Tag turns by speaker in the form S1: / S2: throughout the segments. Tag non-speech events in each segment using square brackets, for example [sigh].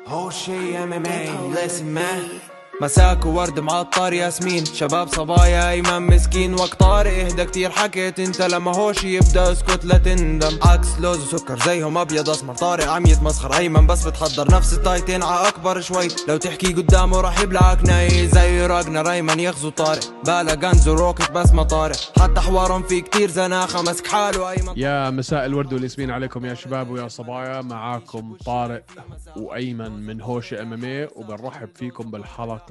S1: هو شي ام ام اي ليسن مان مساك وورد معطر ياسمين شباب صبايا ايمن مسكين وقت طارق اهدى كتير حكيت انت لما هوش يبدا اسكت لا تندم عكس لوز وسكر زيهم ابيض اسمر طارق عم يتمسخر ايمن بس بتحضر نفس التايتين ع اكبر شوي لو تحكي قدامه راح يبلعك ناي زي راجنا ريمان يغزو طارق بالا غنز وروكت بس ما طارق حتى حوارهم في كتير زناخه مسك حاله ايمن
S2: يا مساء الورد والياسمين عليكم يا شباب ويا صبايا معاكم طارق وايمن من هوش ام ام اي وبنرحب فيكم بالحلقه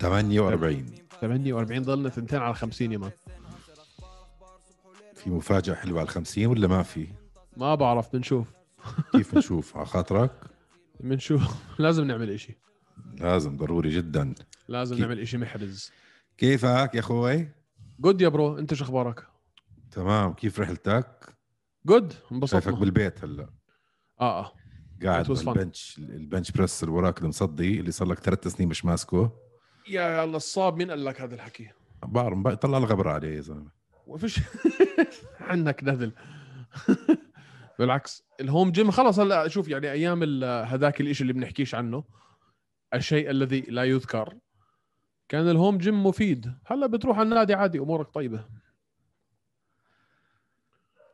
S3: 48
S2: 48 ضلنا ثنتين على 50 يما
S3: في مفاجأة حلوة على 50 ولا ما في؟
S2: ما بعرف بنشوف
S3: كيف نشوف على خاطرك؟
S2: بنشوف [laughs] لازم نعمل إشي
S3: لازم ضروري جدا
S2: لازم
S3: كيف؟
S2: نعمل إشي محرز
S3: كيفك يا اخوي؟
S2: جود يا برو انت شو اخبارك
S3: تمام كيف رحلتك؟
S2: جود
S3: شايفك
S2: انبسطنا
S3: بالبيت هلا
S2: اه اه It
S3: قاعد
S2: was fun.
S3: بالبنش البنش بريس اللي وراك المصدي اللي صار لك ثلاث سنين مش ماسكه
S2: يا نصاب مين قال لك هذا الحكي
S3: بعرف طلع الغبرة عليه يا زلمة
S2: وفيش [laughs] عندك نذل [laughs] بالعكس الهوم جيم خلص هلا شوف يعني ايام ال- هذاك الاشي اللي بنحكيش عنه الشيء الذي لا يذكر كان الهوم جيم مفيد هلا بتروح على النادي عادي امورك طيبه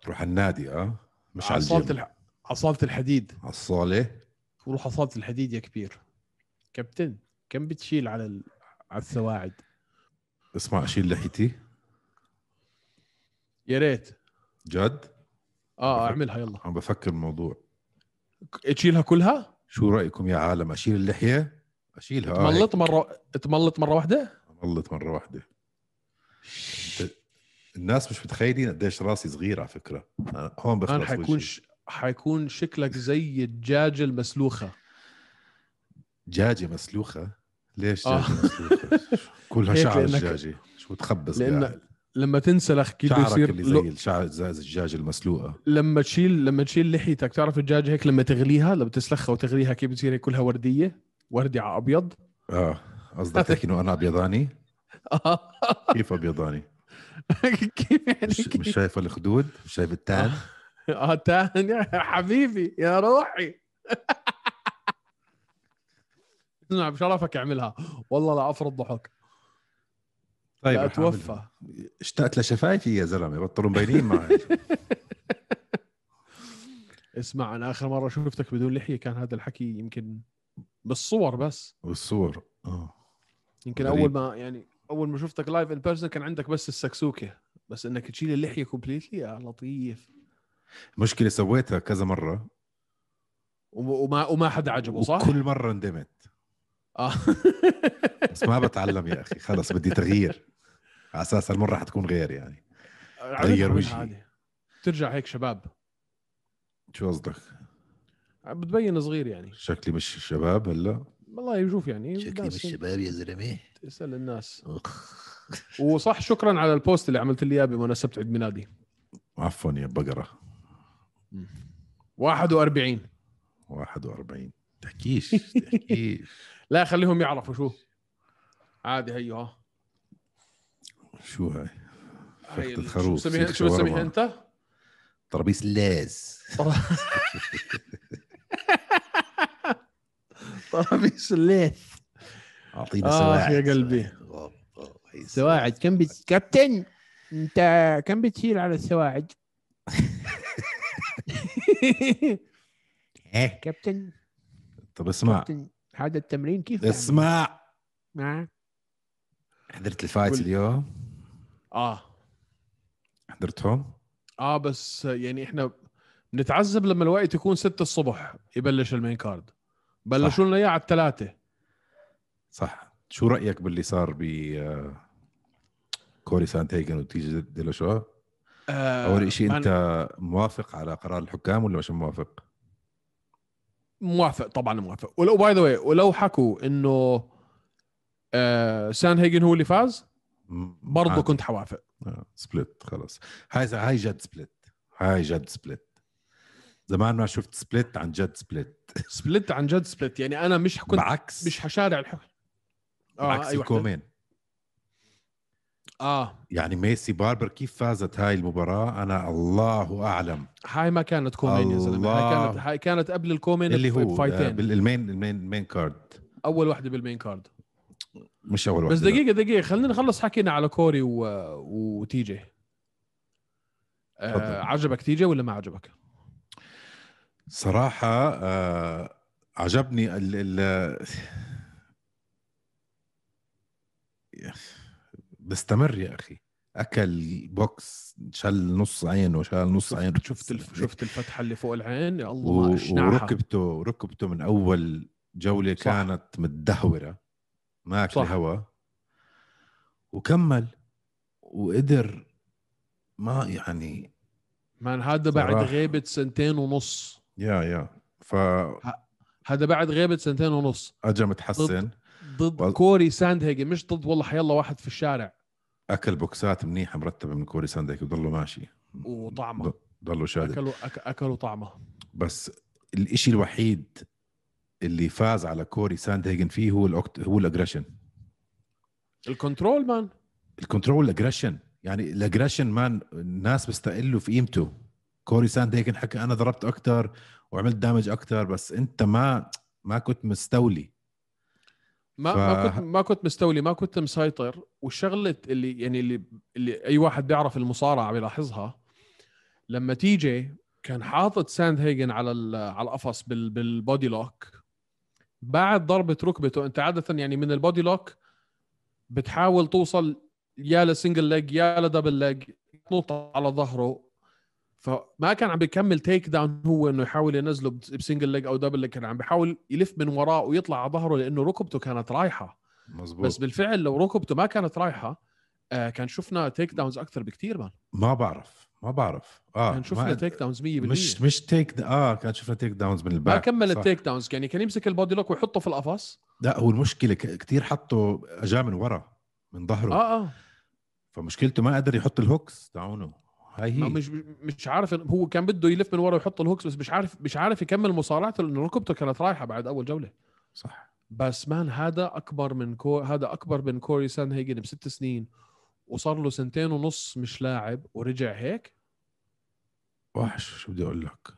S3: تروح على النادي اه مش على
S2: عصالة
S3: الجيم
S2: الح... عصالة الحديد
S3: على الصالة
S2: روح عصالة الحديد يا كبير كابتن كم بتشيل على ال... على السواعد
S3: اسمع شيل لحيتي
S2: يا ريت
S3: جد
S2: اه اعملها يلا
S3: عم بفكر بالموضوع
S2: تشيلها كلها
S3: شو رأيكم يا عالم أشيل اللحية؟ أشيلها آه، هيك.
S2: تملط مره تملط مره واحده
S3: ملت مره واحده انت الناس مش متخيلين قديش راسي صغير على فكره أنا هون بخلص
S2: انا حيكون
S3: وجهي.
S2: ش... حيكون شكلك زي الدجاجه المسلوخه
S3: دجاجه مسلوخه ليش
S2: آه.
S3: دجاجه
S2: [laughs]
S3: مسلوخه كلها
S2: هيك
S3: شعر
S2: لأنك-
S3: الدجاجه شو بتخبص
S2: لأن
S3: قاعد؟
S2: لما تنسلخ كيف
S3: شعرك
S2: يصير
S3: اللي زي
S2: لو...
S3: الشعر زي الدجاجه المسلوقه
S2: لما تشيل لما تشيل لحيتك تعرف الدجاجه هيك لما تغليها لما تسلخها وتغليها كيف بتصير هيك كلها ورديه وردي على ابيض
S3: اه قصدك تحكي انه انا ابيضاني
S2: آه. [laughs]
S3: كيف ابيضاني
S2: [laughs] كيف يعني
S3: مش,
S2: [laughs]
S3: مش
S2: كيف؟
S3: شايف الخدود مش شايف التان
S2: اه تاني [laughs] يا حبيبي يا روحي [laughs] اسمع بشرفك اعملها والله لا افرض ضحك
S3: طيب
S2: لا
S3: رح أعملها.
S2: اتوفى
S3: اشتقت لشفايفي يا زلمه بطلوا مبينين
S2: [laughs]
S3: معي
S2: اسمع انا اخر مره شفتك بدون لحيه كان هذا الحكي يمكن بالصور بس
S3: والصور اه
S2: يمكن
S3: غريب.
S2: اول ما يعني اول ما شفتك لايف ان بيرسون كان عندك بس السكسوكه بس انك تشيل اللحيه كومبليتلي يا لطيف
S3: مشكله سويتها كذا مره
S2: وم- وما وما حدا عجبه صح؟
S3: وكل مره ندمت
S2: آه. [laughs]
S3: بس ما بتعلم يا اخي خلص بدي تغيير على اساس هالمره حتكون غير يعني غير
S2: عملها
S3: وجهي.
S2: عادي. ترجع هيك شباب
S3: شو قصدك
S2: بتبين صغير يعني
S3: شكلي مش شباب هلا
S2: والله يشوف يعني الناس-
S3: يا زلمه
S2: اسال الناس وصح شكرا على البوست اللي عملت لي اياه بمناسبه عيد ميلادي
S3: عفوا يا بقره
S2: 41
S3: 41 تحكيش تحكيش
S2: لا خليهم يعرفوا شو عادي هيو ها
S3: شو هاي
S2: هي
S3: فخت
S2: ال- شو
S3: الخروف،
S2: بسميها-
S3: سيخ
S2: شو بسميها
S3: شاورما.
S2: انت؟
S3: ترابيس لاز
S2: [laughs] طرابيس الليث
S3: اعطينا
S2: آخ،
S3: سواعد
S2: يا قلبي.
S3: سواعد
S2: كم بت... كابتن انت كم بتشيل على السواعد؟
S3: [laughs]
S2: [laughs]
S3: إيه.
S2: كابتن
S3: طب اسمع
S2: كابتن هذا التمرين كيف
S3: اسمع
S2: معه؟
S3: حضرت الفايت
S2: قول.
S3: اليوم
S2: اه
S3: حضرتهم
S2: اه بس يعني احنا بنتعذب لما الوقت يكون 6 الصبح يبلش المين كارد بلشوا لنا اياه على الثلاثة
S3: صح شو رايك باللي صار ب آه، كوري سانتيغن وتيجي ديلاشو
S2: آه
S3: اول شيء
S2: أنا
S3: انت موافق على قرار الحكام ولا مش موافق؟
S2: موافق طبعا موافق ولو باي ذا واي ولو حكوا انه آه سان هيجن هو اللي فاز برضه كنت حوافق
S3: سبلت خلص آه، هاي هاي جد سبلت هاي جد سبلت زمان ما شفت سبلت عن جد سبلت
S2: سبلت عن جد سبلت يعني انا مش آه، كنت
S3: بعكس
S2: مش حشارع الحكم
S3: بعكس
S2: وحدة.
S3: الكومين
S2: اه
S3: يعني ميسي باربر كيف فازت هاي المباراه انا الله اعلم
S2: هاي ما كانت كومين يا زلمه هاي
S3: الله.
S2: كانت هاي كانت قبل الكومين
S3: اللي هو آه،
S2: بفايتين
S3: بالمين المين المين كارد
S2: اول وحده بالمين كارد
S3: مش اول واحد
S2: بس دقيقه دقيقه خلينا نخلص حكينا على كوري و... وتيجي
S3: تفضل.
S2: آه عجبك تيجي ولا ما عجبك؟
S3: صراحة آه عجبني ال ال بستمر يا أخي أكل بوكس شل نص عين وشال نص عين
S2: شفت شفت, الف... شفت الفتحه اللي فوق العين يا الله ما
S3: و...
S2: اشنعها
S3: وركبته ركبته من أول جولة
S2: صح.
S3: صح. كانت متدهورة ماكل
S2: صح.
S3: هوا وكمل وقدر ما يعني
S2: مان هذا بعد
S3: صراحة.
S2: غيبه سنتين ونص
S3: يا يا
S2: هذا بعد غيبه سنتين ونص
S3: فأجا متحسن
S2: ضد
S3: وال-
S2: كوري ساندهيجن مش ضد والله حيلا واحد في الشارع
S3: اكل بوكسات منيحه مرتبه من كوري ساندك وضله ماشي
S2: وطعمه
S3: ضله شادد
S2: اكلوا أك... اكلوا طعمه
S3: بس الإشي الوحيد اللي فاز على كوري ساندهيجن فيه هو الأكت... هو الاجريشن
S2: الكنترول مان
S3: الكنترول الاجريشن يعني الاجريشن مان الناس بيستقلوا في قيمته كوري ساندهيجن حكى انا ضربت اكثر وعملت دامج اكثر بس انت ما ما كنت مستولي
S2: ما ف... ما
S3: ف-
S2: كنت ما كنت مستولي ما كنت مسيطر والشغله اللي يعني اللي, اللي اي واحد بيعرف المصارعه بيلاحظها لما تيجي كان حاطط ساند هيجن على ال- على القفص بال... بالبودي لوك بعد ضربه ركبته انت عاده يعني من البودي لوك بتحاول توصل يا لسنجل ليج يا لدبل ليج تنط على ظهره فما كان عم بيكمل تيك داون هو انه يحاول ينزله بس- بسنجل ليج او دبل ليج كان عم بيحاول يلف من وراه ويطلع على ظهره لانه ركبته كانت رايحه
S3: مزبوط
S2: بس بالفعل لو ركبته ما كانت رايحه آه كان شفنا تيك داونز اكثر بكثير مان
S3: ما بعرف ما بعرف اه
S2: كان شفنا
S3: ما...
S2: تيك داونز 100%
S3: مش مش تيك اه كان شفنا تيك داونز من الباك
S2: ما كمل
S3: صح.
S2: التيك داونز يعني كان يمسك البودي لوك ويحطه في القفص
S3: لا هو المشكله ك- كتير حطه اجاه من ورا من ظهره آه.
S2: اه اه
S3: فمشكلته ما قدر يحط الهوكس تاعونه هاي
S2: ما
S3: هي
S2: مش مش عارف إن- هو كان بده يلف من ورا ويحط الهوكس بس مش عارف مش عارف يكمل مصارعته لانه ركبته كانت رايحه بعد اول جوله
S3: صح
S2: بس مان هذا اكبر من كو... هذا اكبر من كوري سان هيجن بست سنين وصار له سنتين ونص مش لاعب ورجع هيك
S3: وحش شو بدي اقول لك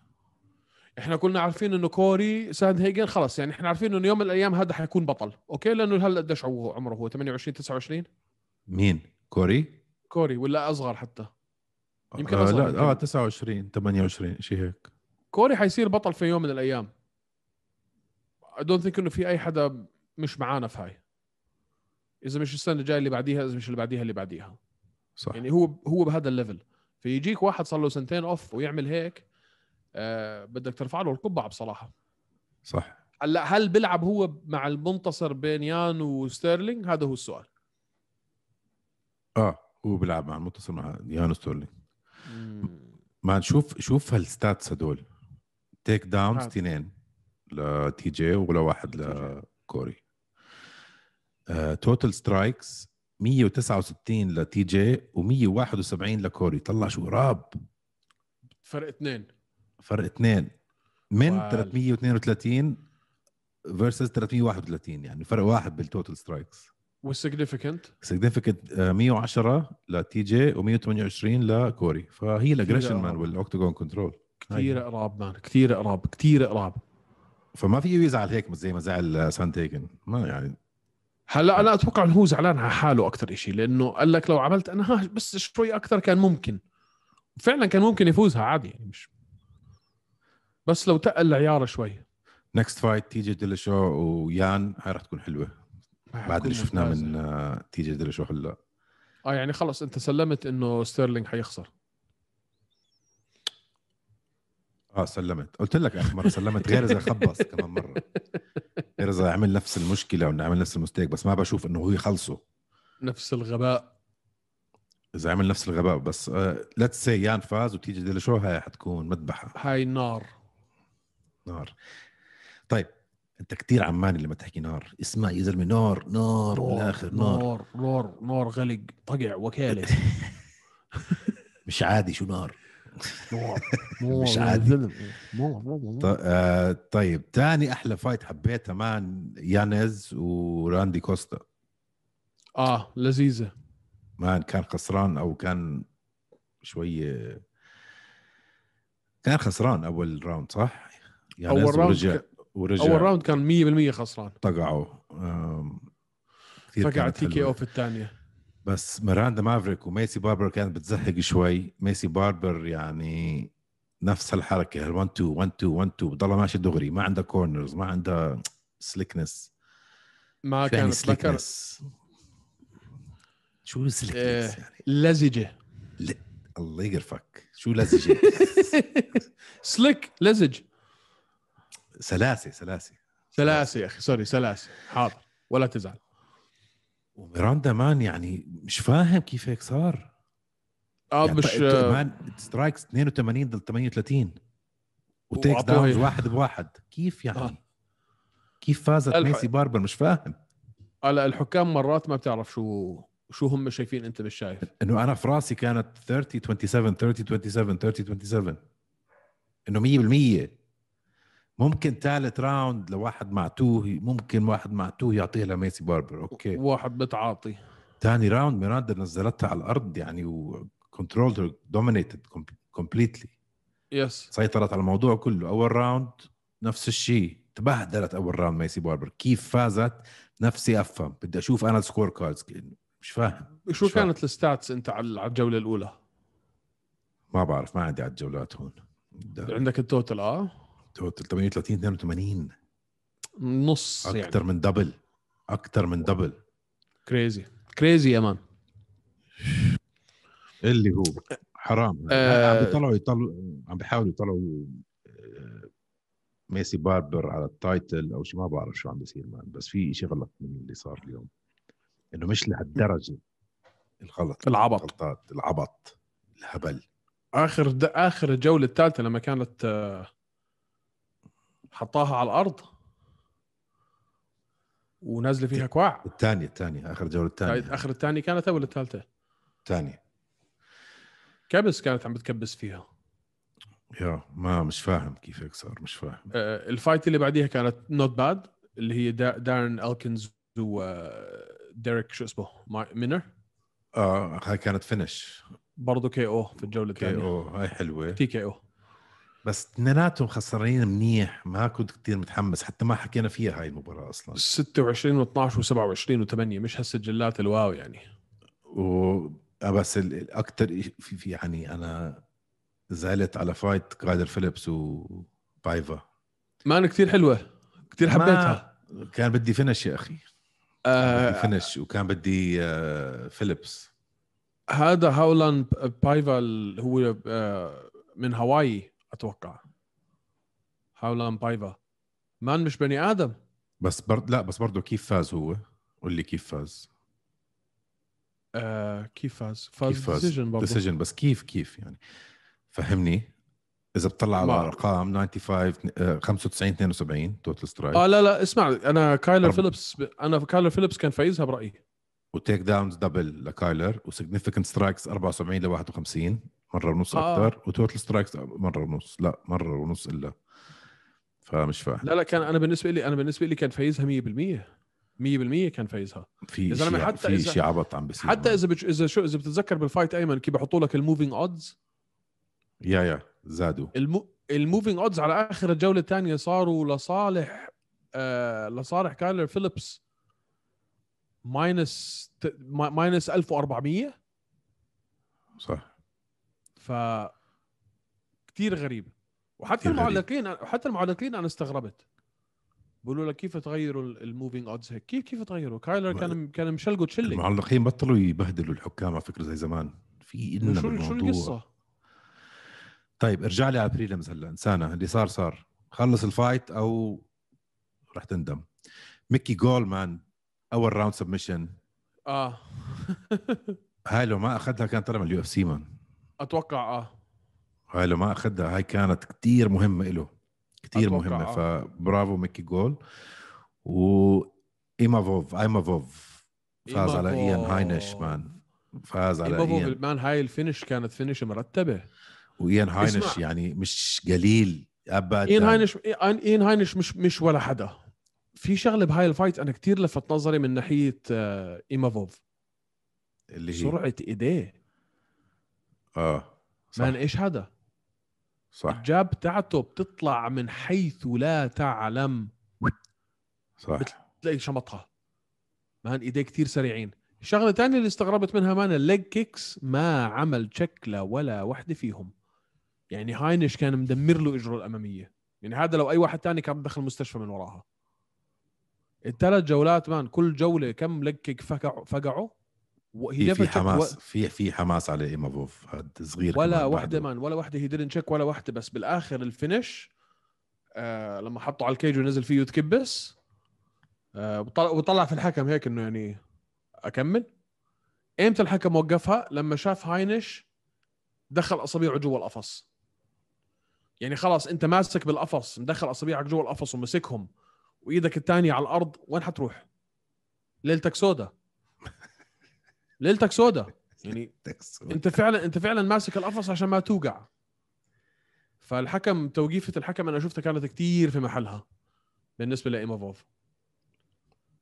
S2: احنا كلنا عارفين انه كوري سان هيجن خلص يعني احنا عارفين انه يوم من الايام هذا حيكون بطل اوكي لانه هلا قديش هو عمره هو 28 29
S3: مين كوري
S2: كوري ولا اصغر حتى يمكن
S3: آه
S2: أصغر
S3: لا
S2: يمكن.
S3: اه 29 28 شيء هيك
S2: كوري حيصير بطل في يوم من الايام I don't think انه في اي حدا مش معانا في هاي اذا مش السنه الجايه اللي بعديها اذا مش اللي بعديها اللي بعديها
S3: صح يعني
S2: يعني هو هو بهذا الليفل فيجيك واحد صار له سنتين اوف ويعمل هيك آه بدك ترفع له القبعه بصراحه
S3: صح
S2: هلا هل بيلعب هو مع المنتصر بين يان وستيرلينج هذا هو السؤال
S3: اه هو بيلعب مع المتصل مع يانو ستورلينج ما شوف شوف هالستاتس هدول تيك داونز
S2: هاد.
S3: اثنين لتي جي ولا واحد
S2: لتي
S3: لكوري توتال سترايكس 169 لتي جي و171 لكوري طلع شو قراب
S2: فرق اثنين
S3: فرق اثنين من
S2: وال.
S3: 332 فيرسز 331 يعني فرق واحد بالتوتال سترايكس
S2: والسيجنيفيكنت
S3: سيجنفكت 110 لتي جي و128 لكوري فهي الاجريشن مان
S2: قراب.
S3: والاوكتاجون كنترول
S2: كثير
S3: أيوة.
S2: قراب مان كثير قراب كثير قراب
S3: فما فيه يزعل هيك زي ما زعل سانتيكن ما يعني
S2: هلا انا اتوقع انه هو زعلان على حاله اكثر شيء لانه قال لك لو عملت انا ها بس شوي اكثر كان ممكن فعلا كان ممكن يفوزها عادي يعني مش بس لو تقل العيار شوي
S3: نكست فايت تيجي ديليشو ويان هاي رح تكون حلوه بعد اللي شفناه من آه، تيجي ديليشو هلا
S2: اه يعني خلص انت سلمت انه ستيرلينج حيخسر
S3: اه سلمت قلت لك اخر مره سلمت غير اذا خبص كمان مره غير اذا عمل نفس المشكله وانه عمل نفس المستيك بس ما بشوف انه هو يخلصه
S2: نفس الغباء
S3: اذا عمل نفس الغباء بس ليتس سي يان فاز وتيجي ديليشو هاي حتكون مذبحه
S2: هاي النار
S3: نار طيب انت كتير عماني لما تحكي نار اسمع يا زلمه نار نار بالاخر نار
S2: نار نار نار غلق طقع وكاله
S3: [laughs] مش عادي شو نار
S2: نار نار
S3: مش
S2: يا
S3: عادي.
S2: زلمة. نار نار نار.
S3: ط- آه، طيب تاني احلى فايت حبيتها مان يانز وراندي كوستا
S2: آه، اه لذيذه
S3: مان كان خسران او كان شوي كان خسران اول راوند صح؟ يعني
S2: أول راوند
S3: ورجع
S2: ك-
S3: ورجع
S2: اول راوند كان 100% خسران
S3: طقعوا أم، كثير
S2: فقع
S3: كانت
S2: تي كي
S3: حلوة.
S2: او في الثانيه
S3: بس ميراندا مافريك وميسي باربر كانت بتزهق شوي ميسي باربر يعني نفس الحركه 1 2 1 2 1 2 بضلها ماشي دغري ما عندها كورنرز ما عندها سليكنس
S2: ما
S3: يعني
S2: كانت لكر
S3: سليكنس شو سليكنس
S2: إيه.
S3: يعني
S2: لزجه
S3: الله يقرفك شو لزجه
S2: [laughs] سلك لزج
S3: سلاسه سلاسه
S2: سلاسه يا اخي سوري سلاسه حاضر ولا تزعل
S3: وميراندا مان يعني مش فاهم كيف هيك صار
S2: اه
S3: يعني
S2: مش
S3: طيب مان سترايكس 82 ضد 38 وتيكس
S2: وأعطوها
S3: داونز
S2: هي.
S3: واحد بواحد كيف يعني؟
S2: آه.
S3: آه. كيف فازت
S2: الح-
S3: ميسي باربر مش فاهم
S2: آه، لا الحكام مرات ما بتعرف شو شو هم شايفين انت مش شايف
S3: انه انا في راسي كانت 30 27 30 27 30 27 انه 100% ممكن ثالث راوند لواحد مع تو ممكن واحد مع تو يعطيها لميسي باربر اوكي
S2: واحد متعاطي
S3: ثاني راوند ميراندا نزلتها على الارض يعني وكنترول دومينيتد كومبليتلي
S2: يس
S3: سيطرت على الموضوع كله اول راوند نفس الشيء تبهدلت اول راوند ميسي باربر كيف فازت نفسي افهم بدي اشوف انا السكور كاردز مش فاهم
S2: شو
S3: مش فاهم.
S2: كانت الستاتس انت على على الجوله الاولى
S3: ما بعرف ما عندي على الجولات هون
S2: عندك التوتال اه
S3: توتل 38 82
S2: نص يعني
S3: اكثر من دبل اكثر من دبل
S2: كريزي كريزي يعني. يا مان
S3: اللي هو حرام
S2: آه.
S3: عم بيطلعوا يطلعوا عم بيحاولوا يطلعوا آه، ميسي باربر على التايتل او شيء ما بعرف شو عم بيصير مان بس في شيء غلط من اللي صار اليوم انه مش لهالدرجه الغلط
S2: العبط.
S3: الغلطات العبط الهبل
S2: اخر د... اخر الجوله الثالثه لما كانت آه، حطاها على الارض ونازله فيها كواع
S3: الثانية الثانية اخر جولة
S2: هاي
S3: الثانية
S2: اخر الثانيه كانت ولا الثالثه
S3: الثانية
S2: كبس كانت عم بتكبس فيها
S3: يا ما مش فاهم كيف هيك صار مش فاهم
S2: آه، الفايت اللي بعديها كانت نوت باد اللي هي دا... دارن الكنز وديريك شو اسمه ما- مينر
S3: اه هاي كانت فينش
S2: برضه كي او في الجوله
S3: كي
S2: الثانيه
S3: او هاي حلوة
S2: تي كي او
S3: بس اثنيناتهم خسرانين منيح ما كنت كثير متحمس حتى ما حكينا فيها هاي المباراة اصلا
S2: 26 و12 و27 و8 مش هالسجلات الواو يعني
S3: و آه، بس الاكثر في, في يعني انا زعلت على فايت كرايدر فيليبس وبايفا
S2: مان كثير حلوه كثير
S3: ما-
S2: حبيتها
S3: كان بدي فينش يا اخي
S2: آه،
S3: بدي فينش وكان بدي آه، فيليبس
S2: هذا هاولان ب- بايفا ال- هو آه، من هاواي اتوقع هاولان بايفا مان مش بني ادم
S3: بس برد لا بس برضه كيف فاز هو قول لي كيف فاز
S2: آه، كيف فاز؟ فاز
S3: كيف فاز
S2: ديسيجن برضه
S3: ديسيجن بس كيف كيف يعني فهمني اذا بتطلع على
S2: ما-
S3: الارقام 95 آه، 95 72 توتال سترايك
S2: اه لا لا اسمع انا كايلر
S3: أربعة.
S2: فيليبس ب- انا كايلر فيليبس كان فايزها برايي
S3: وتيك داونز دبل لكايلر وسيجنفكنت سترايكس 74 ل 51 مره ونص
S2: آه.
S3: آه. اكثر وتوتال سترايكس مره ونص لا مره ونص الا فمش فاهم
S2: لا لا كان انا بالنسبه لي انا بالنسبه لي كان فايزها 100% 100% كان فايزها
S3: في
S2: يا زلمة
S3: شيء
S2: حتى
S3: في
S2: إذا-
S3: شيء عبط عم بيصير
S2: حتى
S3: معه.
S2: اذا بتش... اذا شو اذا بتتذكر بالفايت ايمن كيف بحطوا لك الموفينج اودز
S3: يا يا زادوا
S2: الم... الموفينج اودز على اخر الجوله الثانيه صاروا لصالح آه لصالح كايلر فيليبس ماينس ت... ما- ماينس 1400
S3: صح
S2: ف كثير غريب وحتى
S3: كتير غريب.
S2: المعلقين حتى المعلقين انا استغربت بيقولوا لك كيف تغيروا الموفينج اودز هيك كيف كيف تغيروا كايلر
S3: ما-
S2: كان كان مشلقه تشلي
S3: المعلقين بطلوا يبهدلوا الحكام على فكره زي زمان في إلنا
S2: شو شو
S3: بالموضوع
S2: القصه
S3: طيب ارجع لي على البريلمز هلا انسانه اللي صار صار خلص الفايت او رح تندم ميكي جولمان اول راوند سبمشن
S2: [laughs] اه
S3: هاي لو ما اخذها كان طلع من اليو اف سي مان
S2: اتوقع اه
S3: هاي لو ما اخذها هاي كانت كتير مهمه له كتير
S2: أتوقع،
S3: مهمه
S2: آه.
S3: فبرافو ميكي جول و ايمافوف ايمافوف فاز على ايان
S2: إيمافوف.
S3: هاينش مان فاز على
S2: ايمافوف
S3: ايان
S2: المان إيه، هاي الفينش كانت فينش مرتبه
S3: وايان هاينش
S2: اسمع.
S3: يعني مش قليل ابدا
S2: اين هاينش اين إين هاينش مش مش ولا حدا في شغله بهاي الفايت انا كتير لفت نظري من ناحيه آه، ايمافوف
S3: اللي هي
S2: سرعه ايديه
S3: اه صح
S2: مان ايش هذا؟
S3: صح
S2: الجاب تاعته بتطلع من حيث لا تعلم
S3: صح
S2: بت- تلاقي شمطها مان ايديه كثير سريعين الشغله الثانيه اللي استغربت منها مان الليج كيكس ما عمل شكله ولا وحده فيهم يعني هاينش كان مدمر له اجره الاماميه يعني هذا لو اي واحد تاني كان دخل المستشفى من وراها الثلاث جولات مان كل جوله كم ليج كيك فقعوا فقعوا وهي
S3: في, في حماس في في حماس على ايمافوف هاد صغير
S2: ولا
S3: كمان
S2: واحدة
S3: بعده.
S2: مان ولا واحدة هي didn't check ولا واحدة بس بالآخر الفينش آه لما حطوا على الكيج ونزل فيه يتكبس آه وطلع, وطلع في الحكم هيك انه يعني اكمل امتى الحكم وقفها لما شاف هاينش دخل اصابيعه جوا القفص يعني خلاص انت ماسك بالقفص مدخل اصابيعك جوا القفص ومسكهم وايدك الثانيه على الارض وين حتروح؟ ليلتك
S3: [laughs]
S2: سودا ليلتك سودا يعني انت فعلا انت فعلا ماسك القفص عشان ما توقع فالحكم توقيفه الحكم انا شفتها كانت كتير في محلها بالنسبه لايمافوف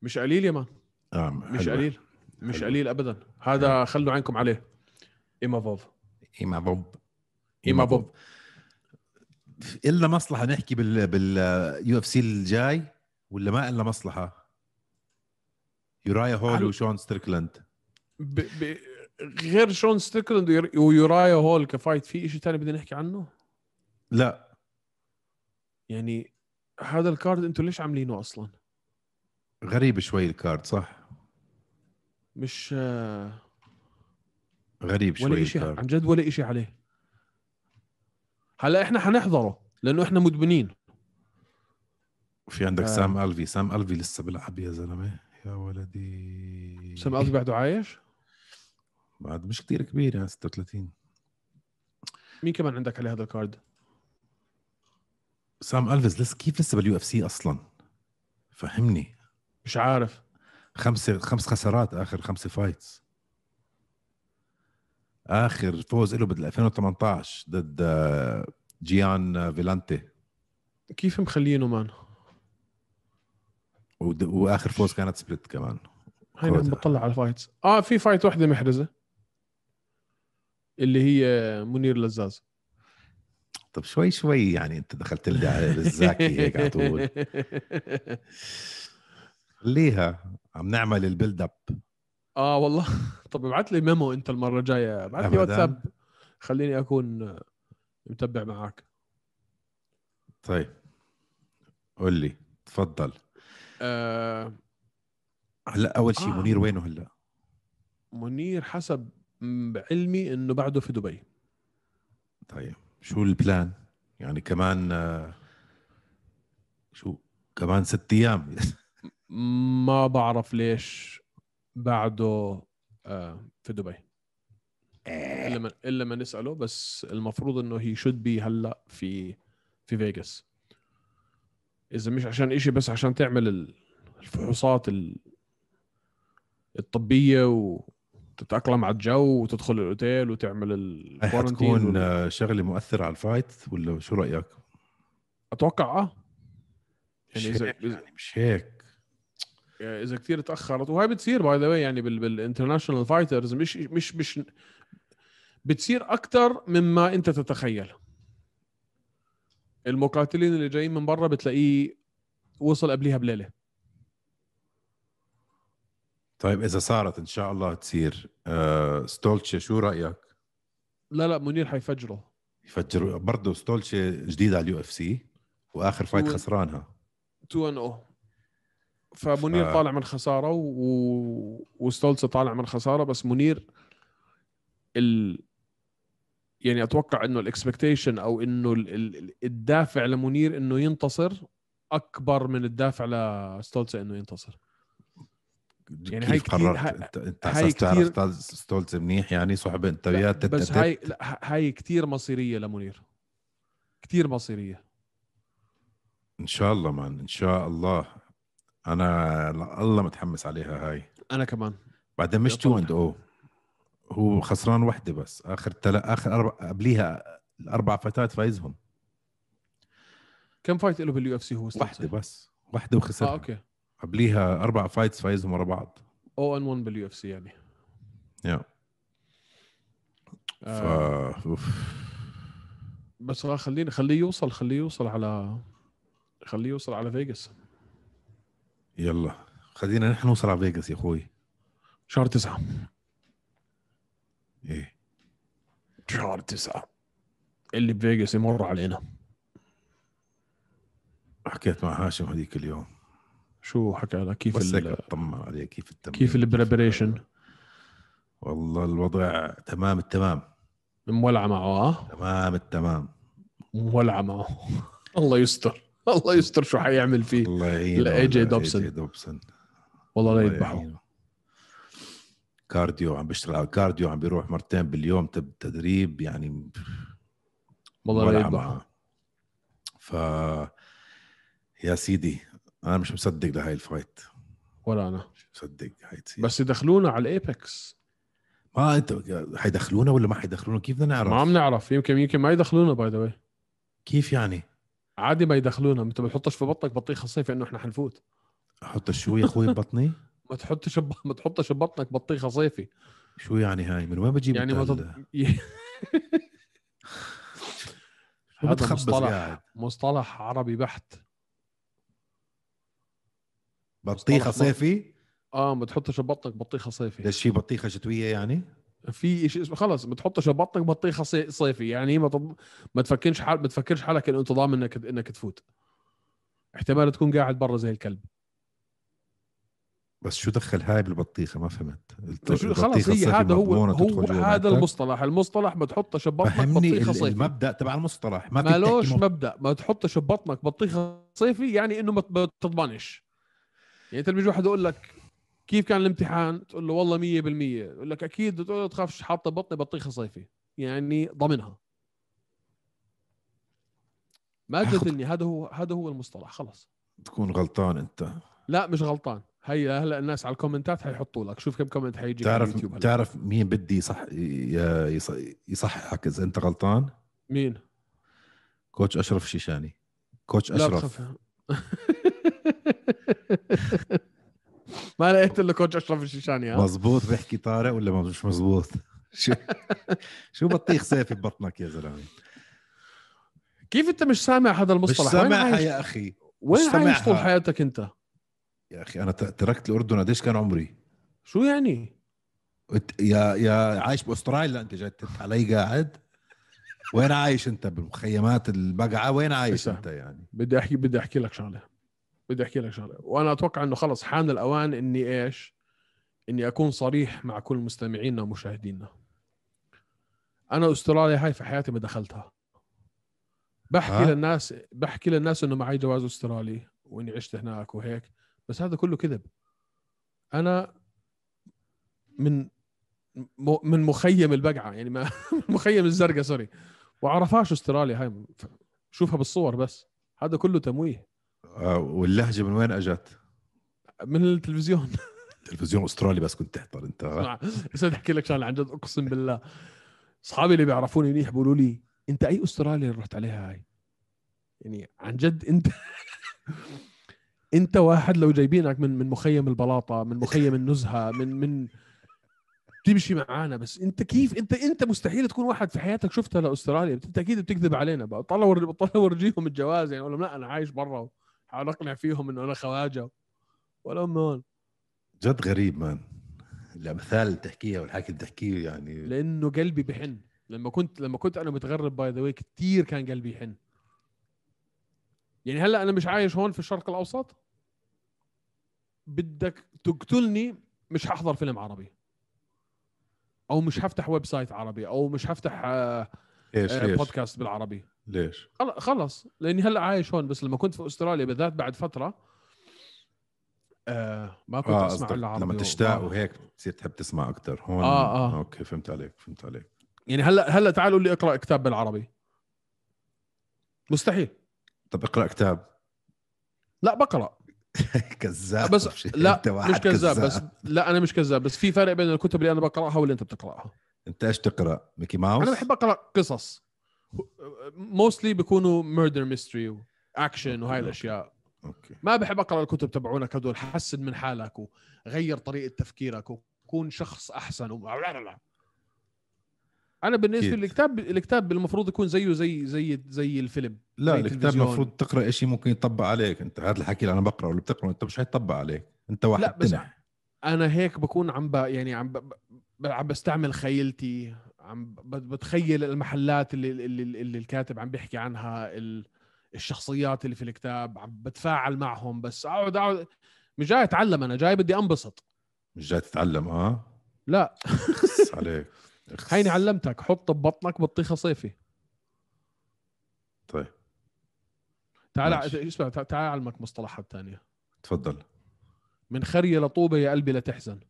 S2: مش قليل يا مان
S3: آه
S2: مش
S3: حلوة.
S2: قليل مش
S3: حلوة.
S2: قليل ابدا هذا خلوا عينكم عليه ايمافوف
S3: ايمافوف
S2: ايمافوف
S3: الا مصلحه نحكي بال باليو اف سي الجاي ولا ما الا مصلحه يورايا هول
S2: حلو.
S3: وشون ستريكلاند
S2: ب... ب... غير شون ستيكلاند وير- ويورايا هول كفايت في شيء ثاني بدنا نحكي عنه
S3: لا
S2: يعني هذا الكارد انتم ليش عاملينه اصلا
S3: غريب شوي الكارد صح
S2: مش آه،
S3: غريب شوي
S2: ولا شيء
S3: الكارد
S2: عن جد ولا شيء عليه هلا احنا حنحضره لانه احنا مدمنين
S3: في عندك
S2: آه.
S3: سام الفي سام الفي لسه بيلعب يا زلمه يا ولدي
S2: سام قصدي بعده عايش
S3: بعد مش كتير كبير يعني 36
S2: مين كمان عندك عليه هذا الكارد
S3: سام الفيز لسه كيف لسه باليو اف سي اصلا فهمني
S2: مش عارف
S3: خمسه خمس خسارات اخر خمسه فايتس اخر فوز له بال 2018 ضد آه، جيان فيلانتي
S2: كيف مخلينه مان
S3: ود- واخر فوز كانت سبليت كمان
S2: هينا عم
S3: كودا.
S2: بطلع على الفايتس اه في فايت واحده محرزه اللي هي منير لزاز
S3: طب شوي شوي يعني انت دخلت لي على الزاكي هيك
S2: [laughs]
S3: على طول خليها عم نعمل البيلد اب
S2: اه والله طب ابعث لي ميمو انت المره الجايه ابعث لي
S3: أبداً.
S2: واتساب خليني اكون متبع معك
S3: طيب قول لي تفضل
S2: آه
S3: هلا اول شيء
S2: آه.
S3: منير وينه هلا
S2: منير حسب علمي انه بعده في دبي
S3: طيب شو البلان يعني كمان آه، شو كمان ست ايام
S2: ما بعرف ليش بعده آه، في دبي الا ما الا ما نساله بس المفروض انه هي شود بي هلا في في فيغاس اذا مش عشان إشي بس عشان تعمل ال- الفحوصات ال- الطبيه وتتاقلم على الجو وتدخل الاوتيل وتعمل
S3: هاي
S2: الكورنتين
S3: حتكون
S2: وال-
S3: آه، شغله مؤثره على الفايت ولا شو رايك؟
S2: اتوقع اه
S3: مش
S2: يعني اذا
S3: هيك
S2: إذا-
S3: يعني مش هيك
S2: اذا كثير تاخرت وهي بتصير باي ذا يعني بال بالانترناشونال فايترز مش مش مش بتصير اكثر مما انت تتخيل المقاتلين اللي جايين من برا بتلاقيه وصل قبليها بليله
S3: طيب اذا صارت ان شاء الله تصير آه، ستولتشي شو رايك؟
S2: لا لا منير حيفجره
S3: يفجروا برضه ستولتشي جديد على اليو اف سي واخر فايت
S2: هو-
S3: خسرانها
S2: 2 ان او فمنير
S3: ف-
S2: طالع من خساره و... وستولز طالع من خساره بس منير ال... يعني اتوقع انه الاكسبكتيشن او انه ال... ال- ال... الدافع لمنير انه ينتصر اكبر من الدافع لستولز انه ينتصر يعني هاي
S3: كيف
S2: كتير-
S3: قررت؟
S2: هاي-
S3: انت انت
S2: هاي
S3: على اساس
S2: كتير-
S3: تعرف ستال- ستولتشي منيح يعني صحبه انت وياه تت-
S2: بس
S3: تت-
S2: هاي لا ه- هاي كثير مصيريه لمنير كثير مصيريه
S3: ان شاء الله مان ان شاء الله انا لا- الله متحمس عليها هاي
S2: انا كمان
S3: بعدين مش
S2: يا
S3: 2
S2: طول.
S3: اند او هو خسران وحده بس اخر تلا اخر أربع قبليها الاربع فتات فايزهم
S2: كم فايت له باليو اف سي هو ستولز؟
S3: وحده بس وحده وخسرها
S2: اه
S3: آه،
S2: اوكي
S3: قبليها اربع فايتس فايزهم ورا بعض
S2: او ان 1 باليو اف سي يعني
S3: يا ف...
S2: آه،
S3: أوف.
S2: بس آه، خلينا خليه يوصل خليه يوصل على خليه يوصل على فيجاس
S3: يلا خلينا نحن نوصل على فيجاس يا اخوي
S2: شهر تسعة
S3: ايه
S2: شهر تسعة اللي بفيجاس يمر علينا
S3: حكيت مع هاشم هذيك اليوم
S2: شو حكى لك كيف
S3: بس هيك
S2: ال...
S3: اطمن عليه كيف التمرين
S2: كيف البريبريشن
S3: والله الوضع تمام التمام
S2: مولعة معه آه؟
S3: تمام التمام
S2: مولعة معه [laughs] الله يستر الله يستر شو حيعمل فيه
S3: الله يعينه
S2: لا، AJ
S3: على
S2: دوبسون.
S3: AJ دوبسون
S2: والله لا
S3: الله
S2: يذبحه
S3: يعينه. كارديو عم بيشتغل على الكارديو عم بيروح مرتين باليوم تب تدريب يعني
S2: والله لا
S3: ولع
S2: يذبحه
S3: معه. ف يا سيدي انا مش مصدق لهاي الفايت
S2: ولا انا
S3: مش مصدق هاي تصير
S2: بس يدخلونا على الايبكس
S3: ما انت حيدخلونا ولا ما حيدخلونا كيف بدنا نعرف
S2: ما عم نعرف يمكن يمكن ما يدخلونا باي ذا واي
S3: كيف يعني
S2: عادي ما يدخلونا انت ما تحطش في بطنك بطيخه صيف انه احنا حنفوت
S3: احط الشو يا اخوي ببطني
S2: ما تحطش بب... ما تحطش ببطنك بطيخه صيفي
S3: شو يعني هاي من وين بجيب
S2: يعني
S3: انت
S2: ما
S3: هال-
S2: تط... [laughs] ي-
S3: شو
S2: هذا
S3: بتخبص
S2: مصطلح
S3: قاعد؟
S2: مصطلح عربي بحت
S3: بطيخه
S2: مصطلح ما-
S3: صيفي
S2: اه ما تحطش ببطنك بطيخه صيفي
S3: ليش في بطيخه شتويه يعني
S2: في شيء اسمه خلص ما تحطش ببطنك بطيخه صي- صيفي يعني ما طب... ما تفكرش حال ما تفكرش حالك انه انت ضامن انك انك تفوت احتمال تكون قاعد برا زي الكلب
S3: بس شو دخل هاي بالبطيخه ما فهمت الت-
S2: طيب شو- خلص
S3: البطيخة
S2: هي
S3: الصيفي
S2: هذا هو
S3: طيب، مضمونة تدخل
S2: هو
S3: جوا
S2: هذا
S3: معدتك؟
S2: المصطلح المصطلح ما تحطش ببطنك
S3: فهمني
S2: بطيخه
S3: ال-
S2: صيفي
S3: المبدا تبع المصطلح ما
S2: ما
S3: فيك
S2: لوش
S3: تحكي مب...
S2: مبدا ما تحطش ببطنك بطيخه صيفي يعني انه ما ت- ما تضمنش يعني انت لما يجي واحد يقول لك كيف كان الامتحان تقول له والله 100% يقول لك اكيد تقول له تخافش حاطه بطني بطيخه صيفي يعني ضامنها ما
S3: هاخد-
S2: تجادلني هذا هو هذا هو المصطلح خلص
S3: تكون غلطان انت
S2: لا مش غلطان هي هلا الناس على الكومنتات حيحطوا لك شوف كم كومنت حيجي على
S3: تعرف
S2: اليوتيوب هلا.
S3: تعرف مين بدي يصح ي- يص- يصححك اذا انت غلطان
S2: مين
S3: كوتش اشرف شيشاني كوتش
S2: لا
S3: اشرف
S2: تخاف [laughs] ما لقيت الا كوتش اشرف الشيشاني ها
S3: مزبوط بيحكي طارق ولا ما- مش مزبوط [laughs] شو شو بطيخ صيفي ببطنك يا زلمه
S2: كيف انت مش سامع هذا
S3: مش
S2: المصطلح وين
S3: سامعها
S2: عايش
S3: يا اخي
S2: وين عايش
S3: سامعها.
S2: طول حياتك انت
S3: يا اخي انا ت- تركت الاردن قديش كان عمري
S2: شو يعني
S3: وت- يا يا عايش باستراليا انت جاي تت علي قاعد وين عايش انت بالمخيمات البقعه وين عايش
S2: اسمع.
S3: انت يعني
S2: بدي احكي بدي احكي لك شغله بدي احكي لك شغله وانا اتوقع انه خلص حان الاوان اني ايش اني اكون صريح مع كل مستمعينا ومشاهدينا انا استراليا هاي في حياتي ما دخلتها بحكي
S3: ها؟
S2: للناس بحكي للناس انه معي جواز استرالي واني عشت هناك وهيك بس هذا كله كذب انا من م- من مخيم البقعه يعني ما [laughs] من مخيم الزرقاء سوري وعرفاش استراليا هاي شوفها بالصور بس هذا كله تمويه
S3: آه، واللهجه من وين اجت؟
S2: من التلفزيون [laughs]
S3: تلفزيون استرالي بس كنت تحضر انت آه.
S2: اسمع بس بدي احكي لك شغله عن جد اقسم بالله اصحابي اللي بيعرفوني منيح بيقولوا لي انت اي استراليا اللي رحت عليها هاي؟ يعني عن جد [laughs] انت انت واحد لو جايبينك من من مخيم البلاطه من مخيم النزهه من من تمشي معانا بس انت كيف انت انت مستحيل تكون واحد في حياتك شفتها لاستراليا انت اكيد بتكذب علينا بقى طلع ور- طلع ورجيهم الجواز يعني اقول لهم لا انا عايش برا حاول اقنع فيهم انه انا خواجه ولا هم هون
S3: جد غريب مان الامثال اللي بتحكيها والحكي اللي بتحكيه يعني
S2: لانه قلبي بحن لما كنت لما كنت انا متغرب باي ذا واي كثير كان قلبي يحن يعني هلا انا مش عايش هون في الشرق الاوسط بدك تقتلني مش ححضر فيلم عربي او مش هفتح ويب سايت عربي او مش هفتح آه،
S3: ليش
S2: آه،
S3: ليش
S2: بودكاست بالعربي
S3: ليش
S2: خل- خلص لاني هلا عايش هون بس لما كنت في استراليا بالذات بعد فتره آه ما كنت
S3: اه
S2: اسمع
S3: قصدك
S2: الا عربي
S3: لما
S2: و-
S3: تشتاق وهيك بتصير تحب تسمع اكثر هون
S2: آه، آه.
S3: اوكي فهمت عليك فهمت عليك
S2: يعني هلا هلا تعال قول لي اقرا كتاب بالعربي مستحيل
S3: طب اقرا كتاب
S2: لا بقرا
S3: [laughs] كذاب [laughs]
S2: بس-
S3: طب شي،
S2: لا،
S3: انت واحد
S2: مش كذاب بس لا انا مش كذاب بس في فرق بين الكتب اللي انا بقراها واللي انت بتقراها
S3: انت ايش تقرا ميكي ماوس
S2: انا بحب اقرا قصص موستلي بيكونوا ميردر ميستري واكشن وهاي
S3: أوكي.
S2: الاشياع
S3: اوكي
S2: ما بحب اقرا الكتب تبعونك هدول حسن من حالك وغير طريقه تفكيرك كون شخص احسن و... انا بالنسبه
S3: أكيد.
S2: لي الكتاب الكتاب المفروض يكون زيه زي زي زي الفيلم
S3: لا
S2: زي
S3: الكتاب
S2: التلفزيون.
S3: المفروض تقرا شيء ممكن يطبق عليك انت هذا الحكي اللي انا بقراه واللي بتقراه انت مش حيطبق عليك انت واحد
S2: لا، بس-
S3: تنح.
S2: انا هيك بكون عم ب... يعني عم ب... ب... عم بستعمل خيلتي عم ب... بتخيل المحلات اللي اللي, اللي الكاتب عم بيحكي عنها ال... الشخصيات اللي في الكتاب عم بتفاعل معهم بس اقعد اقعد مش جاي اتعلم انا جاي بدي انبسط
S3: مش جاي تتعلم اه [laughs]
S2: لا
S3: خص عليك خص.
S2: هيني علمتك حط ببطنك بطيخه صيفي
S3: طيب
S2: تعال
S3: ماشي.
S2: اسمع تع- تعال اعلمك مصطلحات ثانيه
S3: تفضل
S2: من خريه لطوبه يا قلبي لا تحزن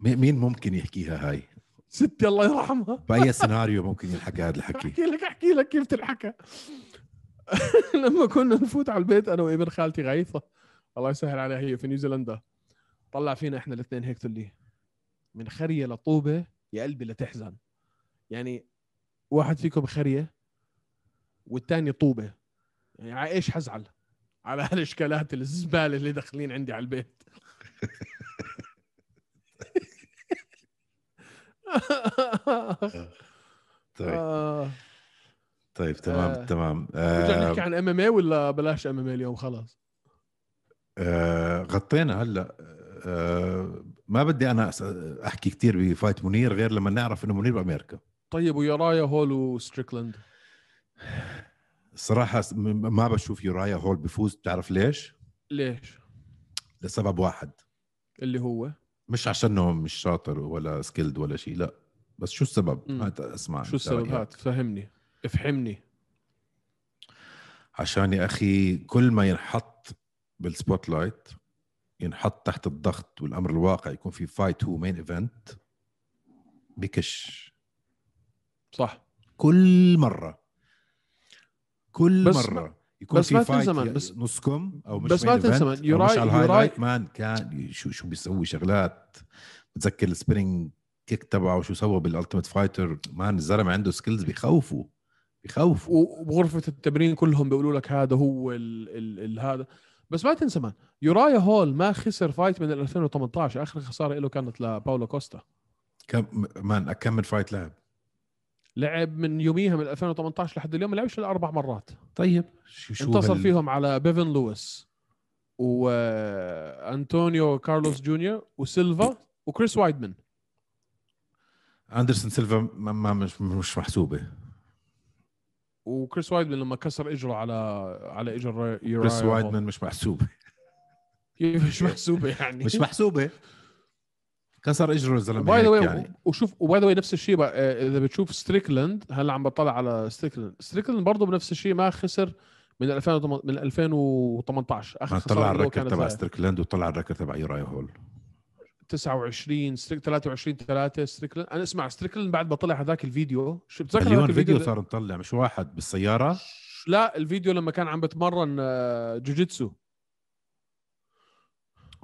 S3: مي- مين ممكن يحكيها هاي
S2: ستي الله يرحمها
S3: باي سيناريو ممكن ينحكى هذا الحكي
S2: احكي لك احكي لك كيف تنحكى [laughs] لما كنا نفوت على البيت انا وابن خالتي غيثه الله يسهل عليها هي في نيوزيلندا طلع فينا احنا الاثنين هيك تقول لي من خريه لطوبه يا قلبي لتحزن يعني واحد فيكم خريه والثاني طوبه يعني على ايش حزعل على هالاشكالات الزباله اللي داخلين عندي على البيت
S3: طيب
S2: آه.
S3: طيب تمام
S2: آه.
S3: تمام
S2: بدنا نحكي
S3: آه
S2: عن ام ام اي ولا بلاش ام ام اي اليوم خلاص
S3: آه غطينا هلا آه ما بدي انا أس- احكي كثير بفايت منير غير لما نعرف انه منير بامريكا
S2: طيب ويا رايا هول وستريكلاند
S3: الصراحه س- م- ما بشوف يورايا هول بفوز بتعرف ليش
S2: ليش
S3: لسبب واحد
S2: اللي هو
S3: مش عشانه مش شاطر ولا سكيلد ولا شيء لا بس شو السبب
S2: مم.
S3: هات اسمع
S2: شو السبب
S3: رأيك.
S2: هات فهمني افحمني
S3: عشان يا اخي كل ما ينحط بالسبوت لايت ينحط تحت الضغط والامر الواقع يكون في فايت هو مين ايفنت بكش
S2: صح
S3: كل مره كل
S2: بس
S3: مره
S2: ما-
S3: يكون
S2: بس
S3: في
S2: ما تنسى
S3: فايت
S2: من-
S3: يا-
S2: بس-
S3: نص كم او مش
S2: بس ما
S3: main
S2: تنسى
S3: event
S2: من-
S3: أو
S2: يوراي-
S3: مش على
S2: يوراي-
S3: الهايلايت مان كان شو شو بيسوي شغلات بتذكر السبيرنج كيك تبعه شو سوى بالالتيميت فايتر مان الزلمه عنده سكيلز بخوفوا بخوفوا
S2: و- وبغرفه التمرين كلهم بيقولوا لك هذا هو ال ال ال هذا بس ما تنسى من يورايا هول ما خسر فايت من ال 2018 اخر خساره له كانت لباولو كوستا
S3: كم مان كم فايت لعب
S2: لعب من يوميها من 2018 لحد اليوم ما لعبش الا اربع مرات
S3: طيب شو شو
S2: انتصر
S3: هال-
S2: فيهم على بيفن لويس وانطونيو كارلوس جونيور وسيلفا وكريس وايدمان
S3: اندرسون سيلفا ما ما- مش مش محسوبه
S2: وكريس وايدمان لما كسر اجره على على اجر يورايا
S3: كريس
S2: هول. [laughs]
S3: وايدمان مش محسوبه
S2: كيف مش محسوبه يعني
S3: مش
S2: [laughs]
S3: محسوبه كسر اجره الزلمه
S2: باي ذا
S3: هيك
S2: واي
S3: يعني
S2: وشوف وباي ذا واي نفس الشيء بقى، آه، اذا بتشوف ستريكلاند هلا عم بطلع على ستريكلاند ستريكلاند برضه بنفس الشيء ما خسر من 2008 من 2018 اخر [laughs]
S3: ما طلع
S2: خساره له
S3: الركر
S2: كانت
S3: تبع
S2: هاي.
S3: ستريكلاند وطلع الركر تبع يوراي هول
S2: 29 ستريك 23 3 ستريكلاند انا اسمع ستريكلاند بعد ما طلع هذاك الفيديو شو بتذكر هذاك
S3: مليون فيديو
S2: الفيديو
S3: صار نطلع مش واحد بالسياره
S2: لا الفيديو لما كان عم بتمرن آه، جوجيتسو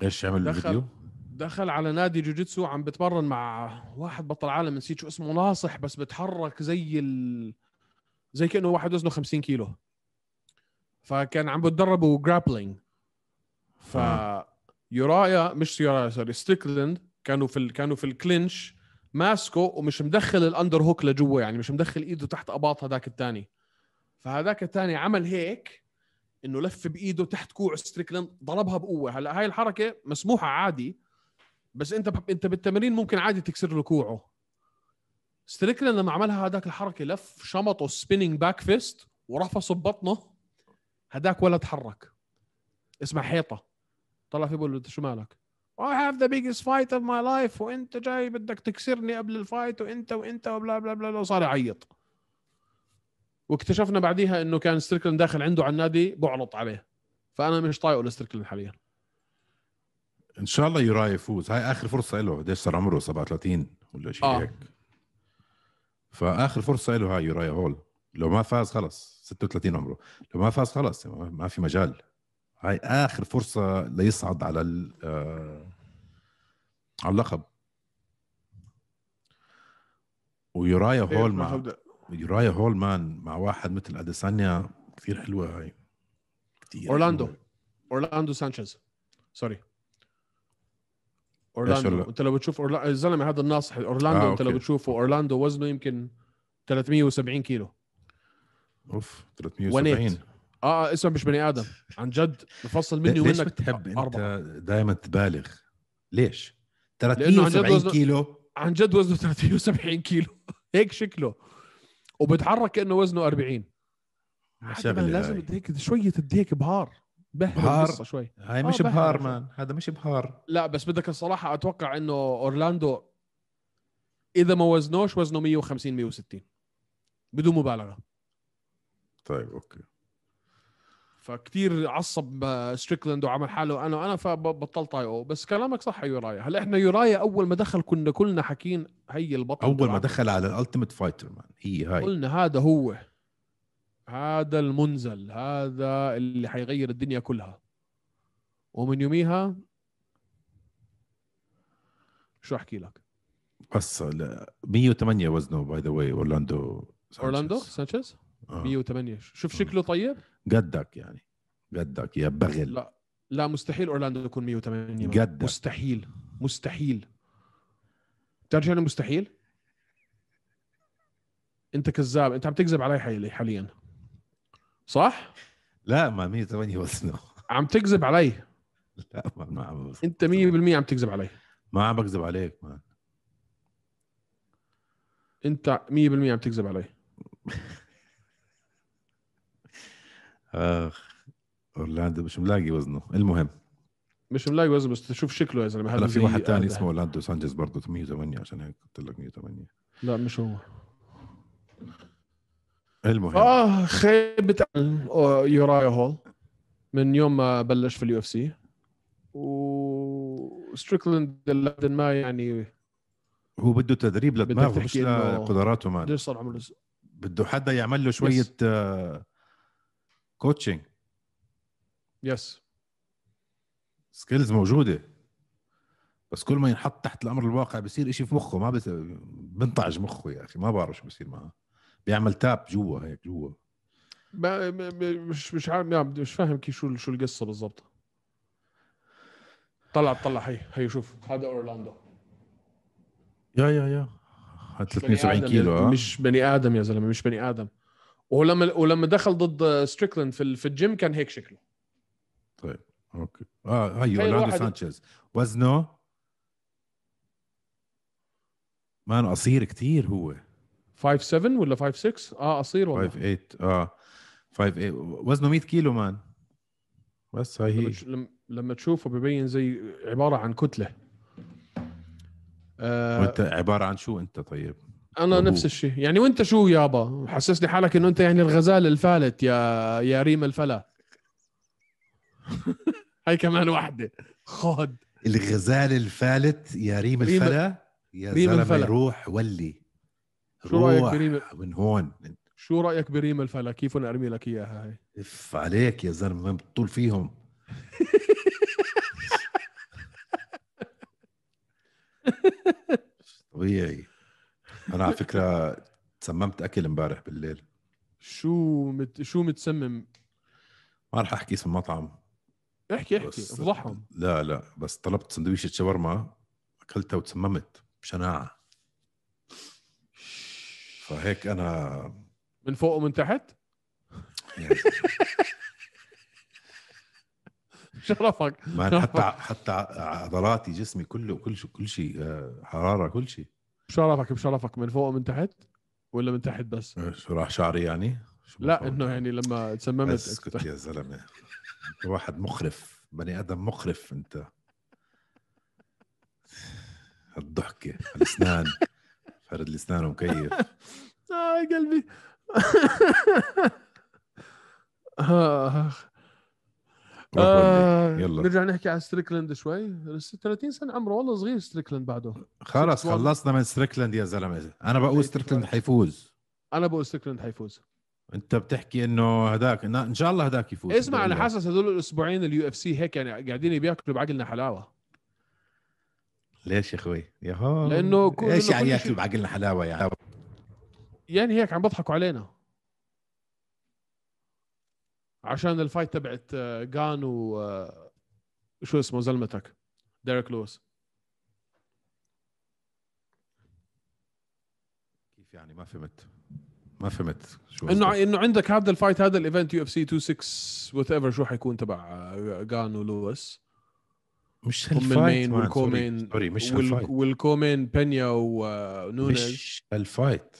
S3: ايش عمل
S2: دخل.
S3: الفيديو
S2: دخل على نادي جوجيتسو عم بتمرن مع واحد بطل عالم نسيت شو اسمه ناصح بس بتحرك زي ال... زي كانه واحد وزنه 50 كيلو فكان عم بتدربوا جرابلينج ف يورايا مش يورايا سوري ستريكلاند كانوا في ال... كانوا في الكلينش ماسكه ومش مدخل الاندر هوك لجوا يعني مش مدخل ايده تحت اباط هذاك الثاني فهذاك الثاني عمل هيك انه لف بايده تحت كوع ستريكلاند ضربها بقوه هلا هاي الحركه مسموحه عادي بس انت ب... انت بالتمرين ممكن عادي تكسر له كوعه ستريكلاند لما عملها هذاك الحركه لف شمطه سبيننج باك فيست ورفسه ببطنه هذاك ولا تحرك اسمع حيطه طلع فيه بقول له انت شو مالك؟ I have the biggest fight of my life وانت جاي بدك تكسرني قبل الفايت وانت وانت وبلا بلا بلا بلا وصار يعيط واكتشفنا بعديها انه كان ستريكلاند داخل عنده على النادي بعرض عليه فانا مش طايقه لستريكلاند حاليا
S3: ان شاء الله يوراي يفوز هاي اخر فرصه له قديش صار عمره 37 ولا شيء
S2: آه.
S3: هيك فاخر فرصه له هاي يوراي هول لو ما فاز خلص 36 عمره لو ما فاز خلص ما ما في مجال هاي اخر فرصه ليصعد على ال آه، على اللقب ويورايا هول مع
S2: إيه، ما
S3: يورايا هول مان مع واحد مثل اديسانيا كثير حلوه هاي كثير
S2: اورلاندو
S3: حلوة.
S2: اورلاندو سانشيز سوري
S3: شغلة؟
S2: اورلاندو انت لو بتشوف أورلا... الزلمه هذا الناصح اورلاندو
S3: آه،
S2: انت لو
S3: أوكي.
S2: بتشوفه اورلاندو وزنه يمكن 370 كيلو
S3: اوف
S2: ونيت.
S3: 370
S2: اه اسمه مش بني ادم عن جد بفصل مني
S3: ليش
S2: ومنك
S3: بتحب انت
S2: أربعة.
S3: دائما تبالغ ليش
S2: لأنه عن جد
S3: 370
S2: وزنه-
S3: كيلو
S2: عن جد وزنه 370 كيلو [laughs] هيك شكله وبتحرك كانه وزنه 40 حتى
S3: شغلة
S2: ما لازم
S3: هاي.
S2: الديك شويه الديك بهار بهر
S3: بهار؟
S2: القصه شوي
S3: هاي
S2: آه،
S3: مش
S2: بحر
S3: بهار
S2: بحر.
S3: مان هذا مش بهار
S2: لا بس بدك الصراحه اتوقع انه اورلاندو اذا ما وزنوش وزنه 150 160 بدون مبالغه
S3: طيب اوكي
S2: فكتير عصب آه، ستريكلاند وعمل حاله انا انا فبطلت اي او بس كلامك صح يا يورايا هلا احنا يورايا اول ما دخل كنا كلنا حاكين هي البطل
S3: اول ما
S2: تبعنا.
S3: دخل على الالتيميت فايتر مان هي هاي
S2: قلنا هذا هو هذا المنزل هذا اللي حيغير الدنيا كلها ومن يوميها شو احكي لك
S3: بس لا، 108 وزنه باي ذا واي اورلاندو سانشيز.
S2: اورلاندو سانشيز
S3: آه.
S2: 108 شوف
S3: مم.
S2: شكله طيب
S3: قدك يعني قدك يا بغل
S2: لا لا مستحيل اورلاندو يكون 180
S3: جداً.
S2: مستحيل مستحيل بتعرف شو يعني مستحيل؟ انت كذاب انت عم تكذب علي حالي- حاليا صح؟
S3: لا ما 108 وزنه [laughs]
S2: عم تكذب علي
S3: لا ما ما عم
S2: انت 100% عم تكذب علي
S3: ما عم بكذب عليك مان
S2: انت 100% عم تكذب علي
S3: اخ اورلاندو مش ملاقي وزنه المهم
S2: مش ملاقي وزن بس شوف شكله يا زلمه هذا
S3: هلا في
S2: زي
S3: واحد ثاني
S2: هذا.
S3: اسمه اورلاندو سانجيز برضه 108 عشان هيك قلت لك 108
S2: لا مش هو
S3: المهم
S2: اه خيبة أمل، آه، يورايا هول من يوم ما بلش في اليو اف سي وستريكلاند لحد ما يعني
S3: هو بده تدريب لدماغه
S2: بدك
S3: مش
S2: تحكي إنه-
S3: لقدراته مان
S2: قديش صار عمره
S3: بده حدا يعمل له
S2: يس.
S3: شويه آه، كوتشنج
S2: يس
S3: سكيلز موجوده بس كل ما ينحط تحت الامر الواقع بصير إشي في مخه ما بس... بنطعج مخه يا اخي ما بعرف شو بصير معه بيعمل تاب جوا هيك جوا
S2: ما ما- ما- مش مش عارف ما- مش فاهم كيف شو شو القصه بالضبط طلع طلع هي هي شوف هذا اورلاندو
S3: يا يا يا هاد
S2: مش بني
S3: 370
S2: آدم
S3: كيلو آه.
S2: يا-
S3: ها
S2: مش بني ادم يا زلمه مش بني ادم ولما ولما دخل ضد ستريكلاند في ال- في الجيم كان هيك شكله
S3: اوكي اه هي
S2: تخيل
S3: اورلاندو
S2: واحد-
S3: سانشيز وزنه مان قصير كتير هو
S2: 5 7 ولا 5 6 اه قصير والله
S3: 5 8 اه 5 8 وزنه 100 كيلو مان بس هاي
S2: لما
S3: هي
S2: تش- لم- لما تشوفه ببين زي عباره عن كتله آه
S3: وانت عباره عن شو انت طيب؟
S2: انا
S3: أبوه.
S2: نفس الشيء يعني وانت شو يابا حسسني حالك انه انت يعني الغزال الفالت يا يا ريم الفلا [laughs] هاي كمان واحده خد
S3: الغزال الفالت يا ريم
S2: ريم-
S3: الفلا يا
S2: ريم
S3: زلمه
S2: الفلا.
S3: روح ولي
S2: شو رأيك
S3: روح
S2: بريم-
S3: من هون
S2: شو رايك بريم الفلا كيف انا ارمي لك اياها هاي
S3: اف عليك يا زلمه وين بتطول [laughs] فيهم طبيعي انا على فكره سممت اكل امبارح بالليل
S2: شو مت شو متسمم
S3: ما راح احكي اسم مطعم
S2: احكي احكي
S3: بس-
S2: افضحهم
S3: لا لا بس طلبت سندويشة شاورما اكلتها وتسممت بشناعه فهيك انا
S2: من فوق ومن تحت
S3: يعني
S2: [laughs] شرفك [laughs]
S3: ما حتى حتى عضلاتي جسمي كله كل شيء كل شيء آه، حراره كل شيء
S2: بشرفك بشرفك من فوق ومن تحت ولا من تحت بس
S3: شو راح شعري يعني؟ شو
S2: لا
S3: بفهم؟
S2: انه يعني لما
S3: بس
S2: تسممت
S3: اسكت يا زلمه أنت واحد مخرف بني ادم مخرف انت الضحكه الاسنان فرد الاسنان ومكيف
S2: آه قلبي [laughs] آخ.
S3: روح ولي.
S2: آه،
S3: يلا.
S2: نرجع نحكي على ستريكلاند شوي لسه 30 سنه عمره والله صغير ستريكلاند بعده
S3: خلص
S2: six one.
S3: خلصنا من ستريكلاند يا زلمه انا بقول
S2: Eight
S3: ستريكلاند
S2: five.
S3: حيفوز
S2: انا بقول ستريكلاند حيفوز
S3: انت بتحكي انه هداك إن- ان شاء الله هداك يفوز
S2: اسمع انا
S3: بالله.
S2: حاسس هذول الاسبوعين اليو اف سي هيك يعني قاعدين بياكلوا بعقلنا حلاوه
S3: ليش يا اخوي؟ يا هو
S2: لأنه كل-
S3: ايش
S2: لأنه
S3: يعني
S2: كل
S3: ياكلوا
S2: شيء-
S3: بعقلنا حلاوه يعني
S2: يعني هيك عم بيضحكوا علينا عشان الفايت تبعت جان و آه، شو اسمه زلمتك ديريك لويس
S3: كيف يعني ما فهمت ما فهمت شو
S2: انه
S3: قصدك؟
S2: انه عندك هذا الفايت هذا الايفنت يو اف سي 26 وات ايفر شو حيكون تبع آه، جان ولويس
S3: مش
S2: هم
S3: هالفايت
S2: المين
S3: مان،
S2: والكومين
S3: سوري، سوري مش
S2: وال...
S3: هالفايت
S2: والكومين بينيا آه، ونونيز
S3: مش هالفايت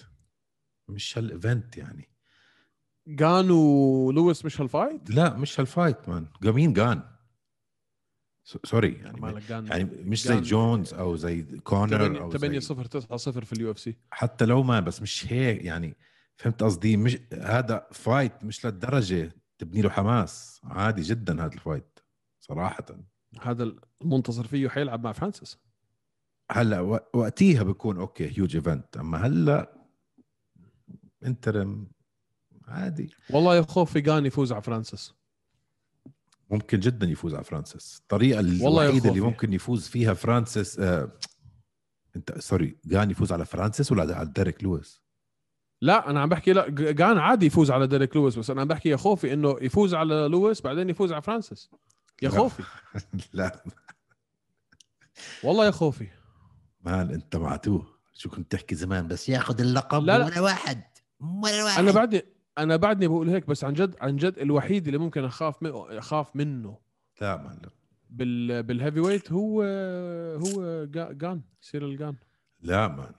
S3: مش هالايفنت يعني
S2: جان ولويس مش هالفايت
S3: لا مش هالفايت مان جمين جان سو- سوري يعني
S2: مالك جان
S3: يعني مش زي
S2: جان-
S3: جونز او زي كونر او
S2: 8
S3: زي
S2: 0 9 0 في اليو اف سي
S3: حتى لو ما بس مش هيك يعني فهمت قصدي مش هذا فايت مش للدرجه تبني له حماس عادي جدا هذا الفايت صراحه
S2: هذا المنتصر فيه حيلعب مع فرانسيس
S3: هلا و- وقتيها بكون اوكي هيوج ايفنت اما هلا انترم عادي
S2: والله يخوف في جان يفوز على فرانسيس
S3: ممكن جدا يفوز على فرانسيس الطريقه
S2: والله
S3: الوحيده اللي
S2: يخوف.
S3: ممكن يفوز فيها فرانسيس آه انت سوري جان يفوز على فرانسيس ولا على ديريك لويس [laughs]
S2: لا انا عم بحكي لا جان عادي يفوز على ديريك لويس بس انا عم بحكي يا خوفي انه يفوز على لويس بعدين يفوز على فرانسيس يا
S3: لا.
S2: خوفي
S3: لا
S2: والله يا خوفي
S3: مان انت معتوه شو كنت تحكي زمان بس ياخذ اللقب
S2: لا، لا.
S3: ولا واحد ولا واحد
S2: انا بعدني انا بعدني بقول هيك بس عن جد عن جد الوحيد اللي ممكن اخاف منه اخاف منه
S3: لا مان لا.
S2: بال بالهيفي ويت هو هو جا- جان سير الجان
S3: لا مان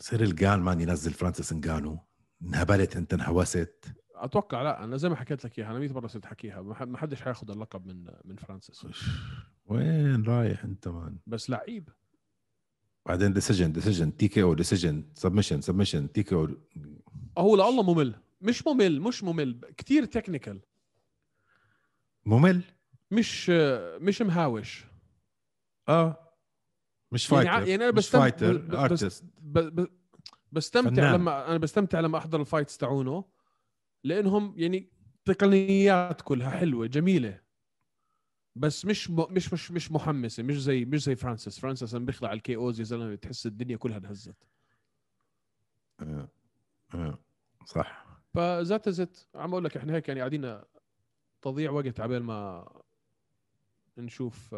S3: سير الجان مان ينزل فرانسيس انجانو انهبلت انت انهوست
S2: اتوقع لا انا زي ما حكيت لك اياها انا 100 مره صرت حكيها ما ح- ما حدش حياخذ اللقب من من فرانسيس
S3: وين رايح انت مان
S2: بس لعيب
S3: بعدين ديسيجن ديسيجن تي كي او ديسيجن سبمشن سبمشن تي كي او
S2: هو لله ممل مش ممل مش ممل كتير تكنيكال
S3: ممل
S2: مش مش مهاوش
S3: اه مش
S2: آه. يعني
S3: فايتر
S2: ع- يعني أنا
S3: مش
S2: بستمتع- ب-
S3: فايتر
S2: بس-
S3: ارتست
S2: ب... ب... بستمتع
S3: فنان.
S2: لما انا بستمتع لما احضر الفايتس تاعونه لانهم يعني تقنيات كلها حلوه جميله بس مش م... مش مش مش محمسه مش زي مش زي فرانسيس فرانسيس لما بيخلع الكي اوز يا زلمه بتحس الدنيا كلها انهزت
S3: آه. آه. صح
S2: فزت زت عم اقول لك احنا هيك يعني قاعدين تضيع وقت عبال ما نشوف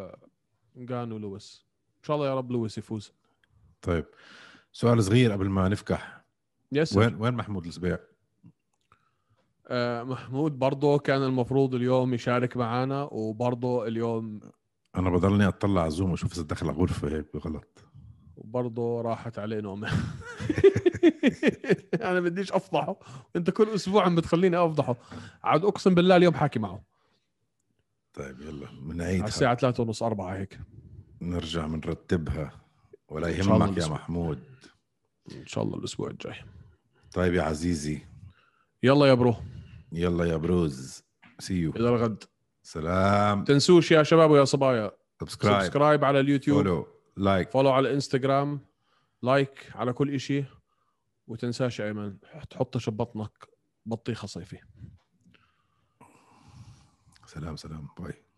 S2: جان ولويس ان شاء الله يا رب لويس يفوز
S3: طيب سؤال صغير قبل ما نفكح
S2: يس
S3: وين وين محمود السبيع؟
S2: آه، محمود برضه كان المفروض اليوم يشارك معنا وبرضه اليوم
S3: انا بضلني اطلع على زوم واشوف اذا دخل على غرفه هيك بغلط
S2: وبرضه راحت عليه نومه [laughs] انا بديش افضحه انت كل اسبوع عم بتخليني افضحه عاد اقسم بالله اليوم حاكي معه
S3: طيب يلا
S2: على
S3: بنعيدها
S2: الساعه 3 ونص 4 هيك
S3: نرجع بنرتبها ولا
S2: إن شاء الله
S3: يهمك يا
S2: الأسبوع.
S3: محمود
S2: ان شاء الله الاسبوع الجاي
S3: طيب يا عزيزي
S2: يلا يا برو
S3: يلا يا بروز سيو
S2: الى الغد
S3: سلام
S2: تنسوش يا شباب ويا صبايا
S3: سبسكرايب
S2: سبسكرايب على اليوتيوب
S3: فولو لايك
S2: فولو على الانستغرام لايك على كل إشي وتنساش يا ايمن تحطش ببطنك بطيخه صيفي
S3: سلام سلام باي